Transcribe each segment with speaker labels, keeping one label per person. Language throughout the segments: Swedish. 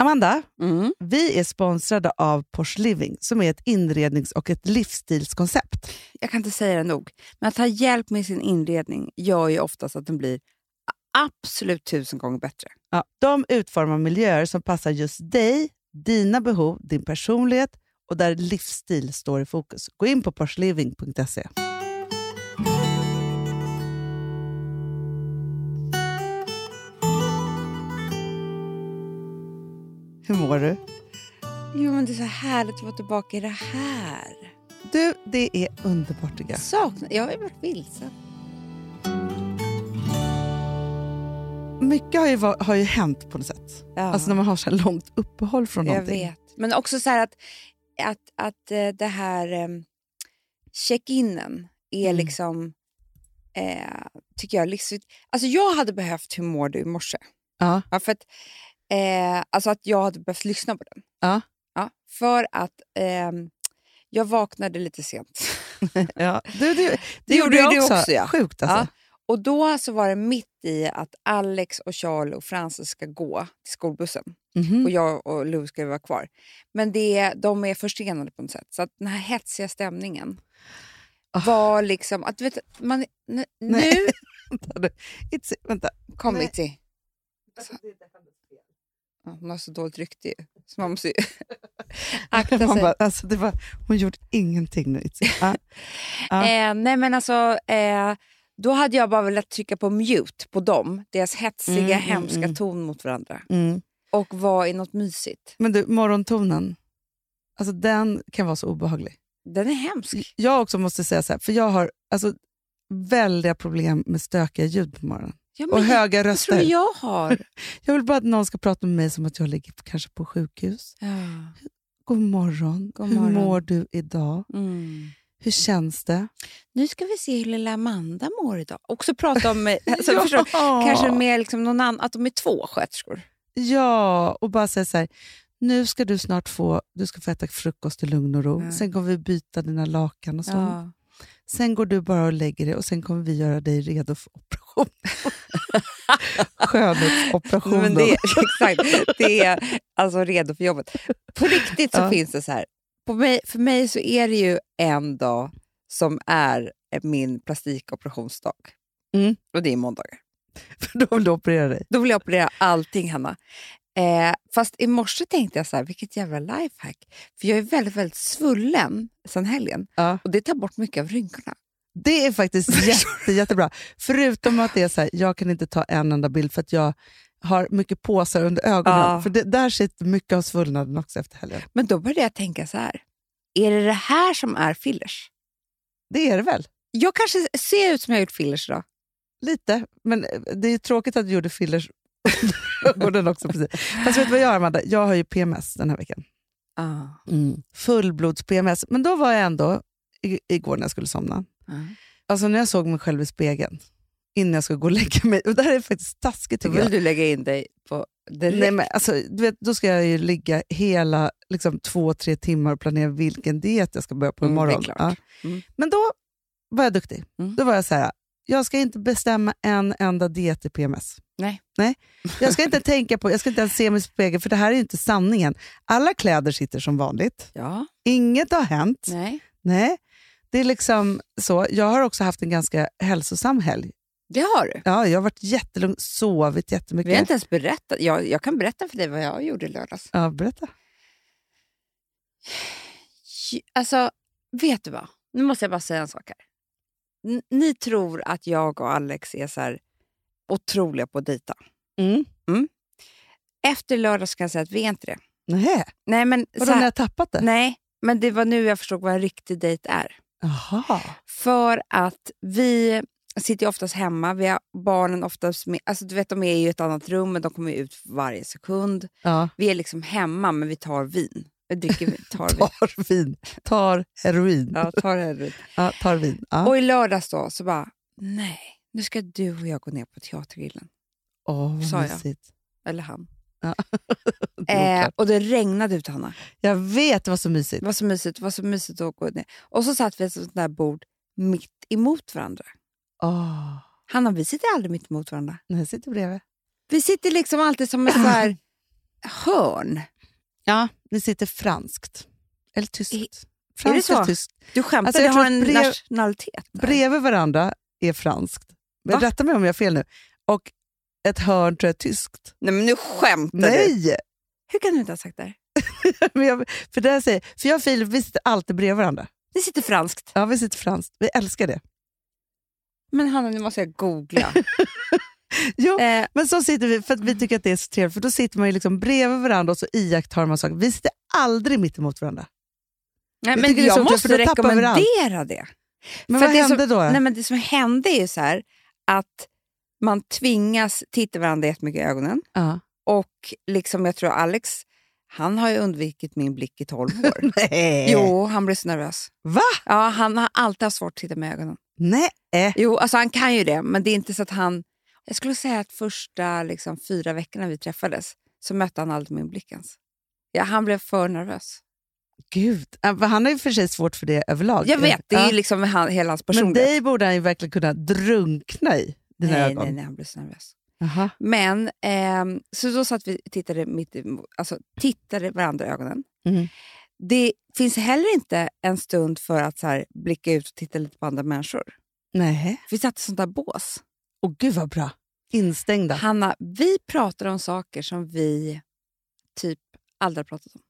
Speaker 1: Amanda,
Speaker 2: Mm.
Speaker 1: vi är sponsrade av Porsche Living som är ett inrednings och ett livsstilskoncept.
Speaker 2: Jag kan inte säga det nog. Men att ha hjälp med sin inredning gör ju oftast att den blir absolut tusen gånger bättre.
Speaker 1: Ja. De utformar miljöer som passar just dig, dina behov, din personlighet och där livsstil står i fokus. Gå in på porsliving.se. Hur mår du?
Speaker 2: Jo, men det är så härligt att vara tillbaka i det här.
Speaker 1: Du, det är underbart tycker jag.
Speaker 2: Saknar, jag har ju varit vilsen.
Speaker 1: Mycket har ju, va- har ju hänt på något sätt.
Speaker 2: Ja,
Speaker 1: Alltså när man har så här långt uppehåll från
Speaker 2: jag
Speaker 1: någonting.
Speaker 2: vet. Men också så här att, att, att eh, det här em, check-inen är
Speaker 1: Mm.
Speaker 2: liksom, eh, tycker jag, livsviktigt. Alltså jag hade behövt Hur mår du i morse?
Speaker 1: Ja.
Speaker 2: Ja, för att, eh, alltså att jag hade behövt lyssna på den.
Speaker 1: Ja.
Speaker 2: Ja, för att ehm, jag vaknade lite sent.
Speaker 1: Ja. Du, du, det,
Speaker 2: Det gjorde
Speaker 1: jag
Speaker 2: ju du
Speaker 1: också.
Speaker 2: också, ja.
Speaker 1: Sjukt alltså.
Speaker 2: Och då så var det mitt i att Alex och Charlie och Frances ska gå till skolbussen.
Speaker 1: Mhm.
Speaker 2: Och jag och Lou ska ju vara kvar. Men det, de är försenade på något sätt. Så att den här hetsiga stämningen
Speaker 1: Ah.
Speaker 2: var liksom... Att, du vet, man, n-
Speaker 1: Nej.
Speaker 2: nu
Speaker 1: Vänta, du. It's, vänta.
Speaker 2: kom
Speaker 1: Nej.
Speaker 2: Itzy. Alltså, Ja, Hon har så dåligt rykte ju. Så man måste ju akta sig.
Speaker 1: Man bara, alltså, det var, hon gjort ingenting nu. Itzy. Ja. Ja.
Speaker 2: Eh, nej men alltså, eh, då hade jag bara velat trycka på mute på dem. Deras hetsiga,
Speaker 1: Mm, mm,
Speaker 2: hemska
Speaker 1: mm.
Speaker 2: ton mot varandra.
Speaker 1: Mm.
Speaker 2: Och vara i något mysigt.
Speaker 1: Men du, morgontonen. Alltså, den kan vara så obehaglig.
Speaker 2: Den är hemsk.
Speaker 1: Jag också måste säga så här, för jag har alltså, väldiga problem med stökiga ljud på morgonen.
Speaker 2: Ja, men
Speaker 1: Och höga
Speaker 2: jag tror
Speaker 1: röster. Jag...
Speaker 2: jag har.
Speaker 1: vill bara att någon ska prata med mig som att jag ligger på, kanske på sjukhus.
Speaker 2: Ja.
Speaker 1: God morgon.
Speaker 2: God
Speaker 1: Hur
Speaker 2: morgon.
Speaker 1: mår du idag?
Speaker 2: Mm.
Speaker 1: Hur känns det?
Speaker 2: Nu ska vi se hur lilla Amanda mår idag. Också prata om eh, alltså, förstår du?
Speaker 1: Ja.
Speaker 2: kanske med liksom någon annan, att de är två sköterskor.
Speaker 1: Ja, och bara säga så här. Nu ska du snart få, du ska få äta frukost i lugn och ro.
Speaker 2: Ja.
Speaker 1: Sen kommer vi byta dina lakan och sånt.
Speaker 2: Ja.
Speaker 1: Sen går du bara och lägger dig och sen kommer vi göra dig redo för operation. Skönhetsoperationen.
Speaker 2: Men det, exakt, det är alltså redo för jobbet. På riktigt så
Speaker 1: Ja.
Speaker 2: finns det så här. På mig, för mig så är det ju en dag som är eh, min plastikoperationsdag.
Speaker 1: Mm.
Speaker 2: Och det är måndagar.
Speaker 1: För då vill du operera dig.
Speaker 2: Då vill jag operera allting, Hanna. Eh, fast i morse tänkte jag så här, vilket jävla lifehack. För jag är väldigt, väldigt svullen sen helgen.
Speaker 1: Ja.
Speaker 2: Och det tar bort mycket av rynkorna.
Speaker 1: Det är faktiskt jätte, jättebra. Förutom att det är så här, jag kan inte ta en enda bild för att jag har mycket påsar under ögonen.
Speaker 2: Ja.
Speaker 1: För det, där sitter mycket av svullnaden också efter helgen.
Speaker 2: Men då började jag tänka så här. Är det det här som är fillers?
Speaker 1: Det är det väl?
Speaker 2: Jag kanske ser ut som jag har gjort fillers idag.
Speaker 1: Lite, men eh, det är tråkigt att du gjorde fillers på den också. Precis. Fast vet du vad jag har, Amanda? Jag har ju PMS den här veckan.
Speaker 2: Ah.
Speaker 1: Fullblods-PMS. Men då var jag ändå, i- igår när jag skulle somna, alltså när jag såg mig själv i spegeln innan jag skulle gå och lägga mig. Och det här är faktiskt taskigt
Speaker 2: Då
Speaker 1: tycker
Speaker 2: vill
Speaker 1: jag.
Speaker 2: du lägga in dig på direkt.
Speaker 1: Nej, men alltså, du vet, då ska jag ju ligga hela liksom, två, tre timmar och planera vilken diet jag ska börja på
Speaker 2: Mm, det är
Speaker 1: imorgon.
Speaker 2: klart.
Speaker 1: Ja.
Speaker 2: Mm.
Speaker 1: Men då var jag duktig.
Speaker 2: Mm.
Speaker 1: Då var jag så här, jag ska inte bestämma en enda diet i PMS.
Speaker 2: Nej.
Speaker 1: Nej. Jag ska inte tänka på, jag ska inte ens se mig i spegeln, för det här är ju inte sanningen. Alla kläder sitter som vanligt.
Speaker 2: Ja,
Speaker 1: Inget har hänt. Nej.
Speaker 2: nej.
Speaker 1: Det är liksom så. Jag har också haft en ganska hälsosam helg.
Speaker 2: Det har du.
Speaker 1: Ja, jag har varit jättelugn, sovit jättemycket.
Speaker 2: Vi har inte ens berättat. Jag, jag kan berätta för dig vad jag gjorde i lördags.
Speaker 1: Ja, berätta.
Speaker 2: J- Alltså, vet du vad? Nu måste jag bara säga en sak här. N- ni tror att jag och Alex är så här otroliga på att dejta.
Speaker 1: Mm.
Speaker 2: Efter lördags kan jag säga att vi är inte det.
Speaker 1: Nej.
Speaker 2: Nej, men,
Speaker 1: Vadå,
Speaker 2: så
Speaker 1: när
Speaker 2: här,
Speaker 1: jag tappat det?
Speaker 2: nej, men det var nu jag förstod vad en riktig dejt är.
Speaker 1: Jaha.
Speaker 2: För att vi sitter ju oftast hemma, vi har barnen oftast med, alltså du vet de är i ett annat rum men de kommer ju ut varje sekund.
Speaker 1: Ja.
Speaker 2: Vi är liksom hemma men vi tar vin. Vi dricker vin, tar vin.
Speaker 1: Tar vin. Tar heroin. Ja.
Speaker 2: Ja, tar heroin.
Speaker 1: tar vin. Ja.
Speaker 2: Och i lördags då så bara, nej, nu ska du och jag gå ner på Teatergrillen.
Speaker 1: Åh, vad
Speaker 2: sa jag.
Speaker 1: mysigt.
Speaker 2: Eller han.
Speaker 1: Ja. Det var
Speaker 2: Eh,
Speaker 1: klart.
Speaker 2: och det regnade ut Hanna.
Speaker 1: jag vet, det var så mysigt.
Speaker 2: Det var så mysigt, det var så mysigt att gå ner. Och så satt vi ett sånt där bord mitt emot varandra.
Speaker 1: Åh.
Speaker 2: Hanna, vi sitter aldrig mitt emot varandra.
Speaker 1: Nej, jag sitter bredvid.
Speaker 2: Vi sitter liksom alltid som en så här hörn.
Speaker 1: Ja, ni sitter franskt. Eller tyskt.
Speaker 2: I-
Speaker 1: franskt
Speaker 2: så?
Speaker 1: eller tyskt.
Speaker 2: Du skämtar,
Speaker 1: Alltså,
Speaker 2: du
Speaker 1: jag
Speaker 2: har
Speaker 1: tror
Speaker 2: en
Speaker 1: att brev-
Speaker 2: nationalitet. där.
Speaker 1: Bredvid varandra är franskt. Men
Speaker 2: Va?
Speaker 1: rätta mig om jag har fel nu. Och ett hörn tror jag är tyskt.
Speaker 2: Nej, men nu skämtar du.
Speaker 1: Nej!
Speaker 2: Hur kan du inte ha sagt det här?
Speaker 1: Men jag, för, det här säger, för jag och Filip vi sitter alltid bredvid varandra.
Speaker 2: Det sitter franskt.
Speaker 1: Ja, vi sitter franskt. Vi älskar det.
Speaker 2: Men Hanna, nu måste jag googla.
Speaker 1: Jo,
Speaker 2: eh,
Speaker 1: men så sitter vi för att
Speaker 2: Mm.
Speaker 1: vi tycker att det är så trevligt. För då sitter man ju liksom bredvid varandra och så iakttar man saker. Vi sitter aldrig mitt emot varandra.
Speaker 2: nej,
Speaker 1: Jag
Speaker 2: men
Speaker 1: tycker det
Speaker 2: jag,
Speaker 1: är så otroligt,
Speaker 2: måste
Speaker 1: för då tappar vi det allt.
Speaker 2: rekommendera det.
Speaker 1: Men
Speaker 2: För
Speaker 1: vad
Speaker 2: att det är så-
Speaker 1: hände då?
Speaker 2: Nej, men det som hände är ju så här att man tvingas titta varandra jättemycket i ögonen.
Speaker 1: Ja.
Speaker 2: Och liksom jag tror Alex, han har ju undvikit min blick i tolv år.
Speaker 1: Nej.
Speaker 2: jo, han blir så nervös.
Speaker 1: Eh, Va?
Speaker 2: Ja, han har alltid haft svårt att titta med ögonen.
Speaker 1: Nej.
Speaker 2: Jo, alltså han kan ju det, men det är inte så att han... Jag skulle säga att första liksom, fyra veckorna vi träffades så mötte han aldrig min blick ens. Ja, han blev för nervös.
Speaker 1: Gud. Ja, för Han har ju för sig svårt för det överlag.
Speaker 2: Jag vet, det är
Speaker 1: Ja.
Speaker 2: ju liksom han, hela hans
Speaker 1: Men
Speaker 2: personlighet.
Speaker 1: dig borde han ju verkligen kunna drunkna i. Dina
Speaker 2: nej,
Speaker 1: ögon.
Speaker 2: nej, nej, han blev så nervös.
Speaker 1: Jaha.
Speaker 2: Men, ehm, så då satt vi och tittade, mitt, emot- alltså, tittade varandra i ögonen.
Speaker 1: Mm.
Speaker 2: Det finns heller inte en stund för att så här, blicka ut och titta lite på andra människor.
Speaker 1: Nej.
Speaker 2: Vi satt i sånt där bås.
Speaker 1: Åh gud vad bra. Instängda.
Speaker 2: Hanna, vi pratar om saker som vi typ aldrig har pratat om.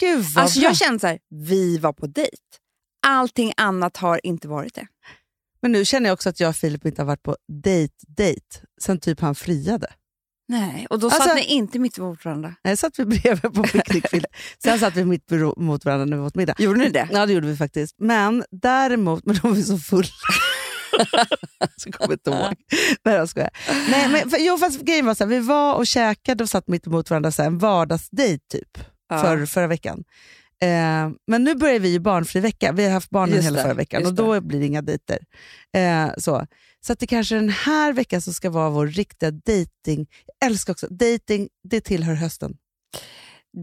Speaker 1: Gud vad
Speaker 2: alltså
Speaker 1: bra.
Speaker 2: jag känner så här, vi var på dejt. Allting annat har inte varit det.
Speaker 1: Men nu känner jag också att jag och Filip inte har varit på date-date sen typ han friade.
Speaker 2: Nej, och då
Speaker 1: Alltså-
Speaker 2: satt ni inte mitt emot varandra.
Speaker 1: Nej, satt vi bredvid på picknickfilten. Sen satt vi mitt bero- mot varandra när vi åt middag.
Speaker 2: Gjorde ni det?
Speaker 1: Ja, det gjorde vi faktiskt. Men däremot, men då var vi så fulla. så kommer jag inte ihåg. Nej, jag skojar. Nej, men, för, jo, fast grejen var så här, vi var och käkade och satt mitt emot varandra, så här, en vardagsdejt typ,
Speaker 2: Ja.
Speaker 1: för, förra veckan. Eh, men nu börjar vi ju barnfri vecka. Vi har haft barnen
Speaker 2: Just
Speaker 1: hela
Speaker 2: det,
Speaker 1: förra veckan
Speaker 2: just
Speaker 1: och då blir det inga dejter. Eh, så så att det kanske den här veckan som ska vara vår riktiga dating. Jag älskar också, dating det tillhör hösten.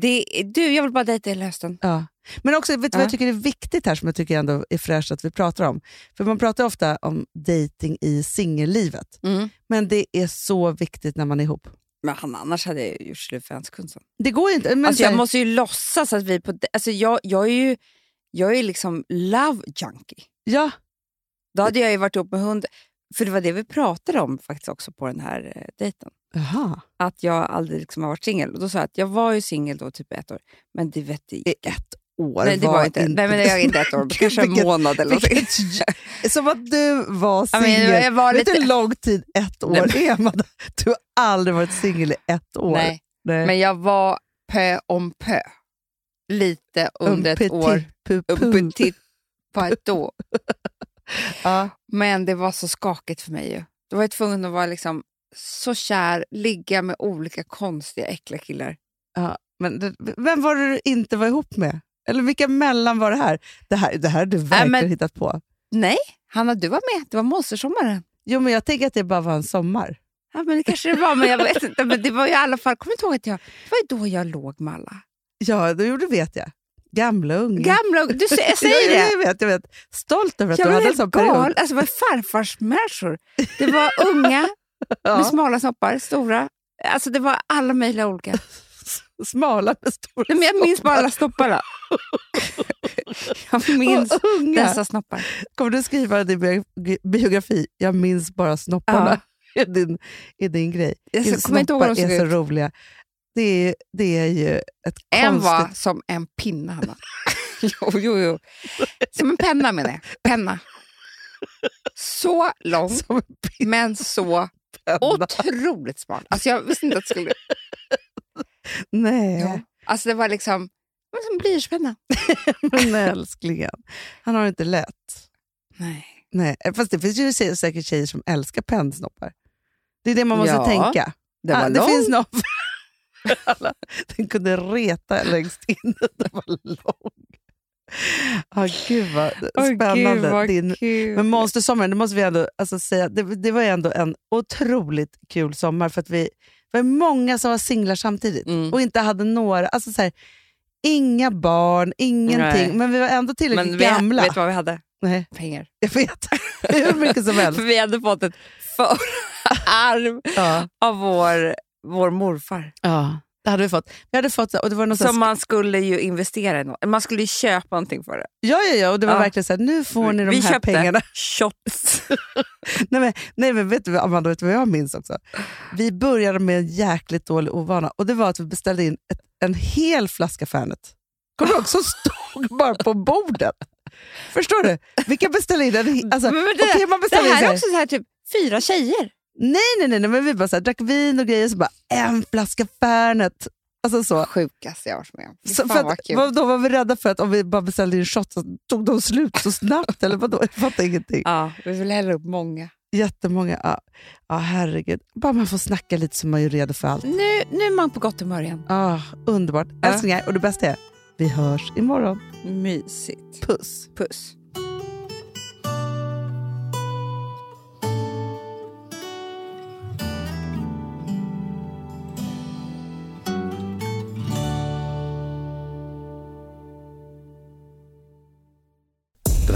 Speaker 2: Det, du, jag vill bara dejta hela hösten.
Speaker 1: Ja. Men också, vet du vad
Speaker 2: Ja.
Speaker 1: jag tycker är viktigt här som jag tycker ändå är fräscht att vi pratar om? För man pratar ofta om dating i singellivet,
Speaker 2: Mm.
Speaker 1: men det är så viktigt när man är ihop.
Speaker 2: Men Hanna, annars hade jag ju gjort slut för hans kund.
Speaker 1: Det går inte. Men
Speaker 2: Alltså,
Speaker 1: så
Speaker 2: jag
Speaker 1: här-
Speaker 2: måste ju låtsas att vi är på dejt. Alltså, jag, jag är ju jag är liksom love junkie.
Speaker 1: ja,
Speaker 2: Då hade jag ju varit ihop med hund. För det var det vi pratade om faktiskt också på den här eh, dejten.
Speaker 1: Aha.
Speaker 2: Att jag aldrig liksom har varit singel. Och Då sa jag att jag var ju singel då typ ett år. Men det vet jag
Speaker 1: I ett år
Speaker 2: Nej, det var inte. Nej, men jag är inte ett år.
Speaker 1: Gud,
Speaker 2: Kanske en
Speaker 1: vilket-
Speaker 2: månad eller någonting.
Speaker 1: vilket, Som att du var
Speaker 2: Ja, men
Speaker 1: singel.
Speaker 2: jag, jag var
Speaker 1: Vet du
Speaker 2: lite...
Speaker 1: hur lång tid ett
Speaker 2: Nej,
Speaker 1: år är? Amanda? Du har aldrig varit singel i ett år. Eh.
Speaker 2: Nej,
Speaker 1: Nej.
Speaker 2: men jag var pö om pö. Lite under ett år.
Speaker 1: Pu, pu.
Speaker 2: Petit på ett år.
Speaker 1: Ja.
Speaker 2: Men det var så skakigt för mig ju. Då var jag tvungen att vara liksom så kär, ligga med olika konstiga, äckliga killar.
Speaker 1: Men det, vem var det du inte var ihop med? Eller vilka mellan var det här? Det här, det här har du verkligen
Speaker 2: Äh, men-
Speaker 1: hittat på.
Speaker 2: Nej, Hanna, du var med. Det var monstersommaren.
Speaker 1: Jo, men jag tänker att det bara var en sommar.
Speaker 2: Ja, men det kanske det var, men jag vet inte. Men det var ju i alla fall, kom inte ihåg att jag, det var ju då jag låg med alla.
Speaker 1: Ja, det gjorde vet jag. Gamla och unga.
Speaker 2: Gamla, du sä- jag säger
Speaker 1: Mm. ja,
Speaker 2: det.
Speaker 1: Jag vet, jag vet. Stolt över att
Speaker 2: Jag
Speaker 1: du
Speaker 2: var
Speaker 1: hade en
Speaker 2: helt
Speaker 1: sån period.
Speaker 2: galen. Alltså, det var farfarsmänniskor. Det var unga med
Speaker 1: Ja.
Speaker 2: smala snoppar, stora. Alltså det var alla möjliga olika.
Speaker 1: Smala med stora
Speaker 2: Nej, men jag minns bara alla snopparna. Jag minns
Speaker 1: Och unga.
Speaker 2: dessa snoppar.
Speaker 1: Kommer du skriva i din biogra- biografi, jag minns bara snopparna, i din, i din grej.
Speaker 2: Jag
Speaker 1: Just
Speaker 2: kommer inte ihåg hur de
Speaker 1: snoppar
Speaker 2: såg
Speaker 1: är så
Speaker 2: ut.
Speaker 1: roliga. Det är, det är ju ett
Speaker 2: En var
Speaker 1: konstigt...
Speaker 2: som en pinne, Hanna. jo, jo, jo. Som en penna menar jag. Penna. Så lång,
Speaker 1: Som en
Speaker 2: men så
Speaker 1: penna.
Speaker 2: otroligt smart. Alltså jag visste inte att det skulle...
Speaker 1: Nej,
Speaker 2: Ja. Alltså det var liksom... Det var som en blyertspenna.
Speaker 1: men älsklingen. Han har det inte lätt.
Speaker 2: Nej.
Speaker 1: Nej, fast det finns ju sä- säkert tjejer som älskar pennsnoppar. Det är det man måste
Speaker 2: Ja,
Speaker 1: tänka.
Speaker 2: Det
Speaker 1: Ah,
Speaker 2: var
Speaker 1: det
Speaker 2: lång.
Speaker 1: finns någon för alla. Den kunde reta längst in. Den var lång. Ah, gud vad
Speaker 2: Åh,
Speaker 1: spännande.
Speaker 2: Gud, vad
Speaker 1: Din
Speaker 2: kul.
Speaker 1: Men Monstersommaren, det måste vi ändå alltså, säga, det, det var ju ändå en otroligt kul sommar för att vi det var många som var singlar samtidigt
Speaker 2: Mm.
Speaker 1: och inte hade några, alltså så här, inga barn, ingenting,
Speaker 2: Nej.
Speaker 1: men vi var ändå tillräckligt
Speaker 2: Men vi,
Speaker 1: gamla.
Speaker 2: Vet du vad vi hade?
Speaker 1: Nej,
Speaker 2: Pengar.
Speaker 1: jag vet. Hur mycket som helst.
Speaker 2: För vi hade fått ett förarv
Speaker 1: Ja.
Speaker 2: av vår, vår morfar.
Speaker 1: Ja. Det hade vi fått. Vi hade fått så här- och det var någon
Speaker 2: Som man skulle ju investera i något. Man skulle ju köpa någonting för det.
Speaker 1: Ja, ja, ja. Och det var
Speaker 2: Ja.
Speaker 1: verkligen så här, nu får ni de
Speaker 2: vi
Speaker 1: här
Speaker 2: köpte
Speaker 1: pengarna.
Speaker 2: shots.
Speaker 1: Nej men, nej, men vet du vad, Amanda, vet du vad jag minns också? Vi började med en jäkligt dålig ovana och det var att vi beställde in ett, en hel flaska Fernet. Kommer du ihåg? Som stod bara på bordet. Förstår du? Vi kan beställa in en... he- Alltså,
Speaker 2: Men det-
Speaker 1: okej, man
Speaker 2: det
Speaker 1: beställer in så
Speaker 2: här
Speaker 1: här.
Speaker 2: är också så här, typ fyra tjejer.
Speaker 1: Nej, nej, nej, nej, men vi bara så här, drack vin och grejer, så bara en flaska Fernet. Alltså så.
Speaker 2: Sjukaste jag har varit med om. Fy
Speaker 1: Så
Speaker 2: fan
Speaker 1: för
Speaker 2: vad
Speaker 1: att,
Speaker 2: kul.
Speaker 1: vad- då var vi rädda för att om vi bara beställde in shot så tog de slut så snabbt. eller vadå? Jag fattar ingenting.
Speaker 2: Ja, vi vill hälla upp många.
Speaker 1: Jättemånga. Ja, ja herregud. Bara man får snacka lite så man är redo för allt.
Speaker 2: Nu, nu är man på gott humör igen.
Speaker 1: Ah, underbart.
Speaker 2: Ja.
Speaker 1: Älsklingar, och det bästa är, vi hörs imorgon.
Speaker 2: Mysigt.
Speaker 1: Puss!
Speaker 2: Puss.
Speaker 3: Den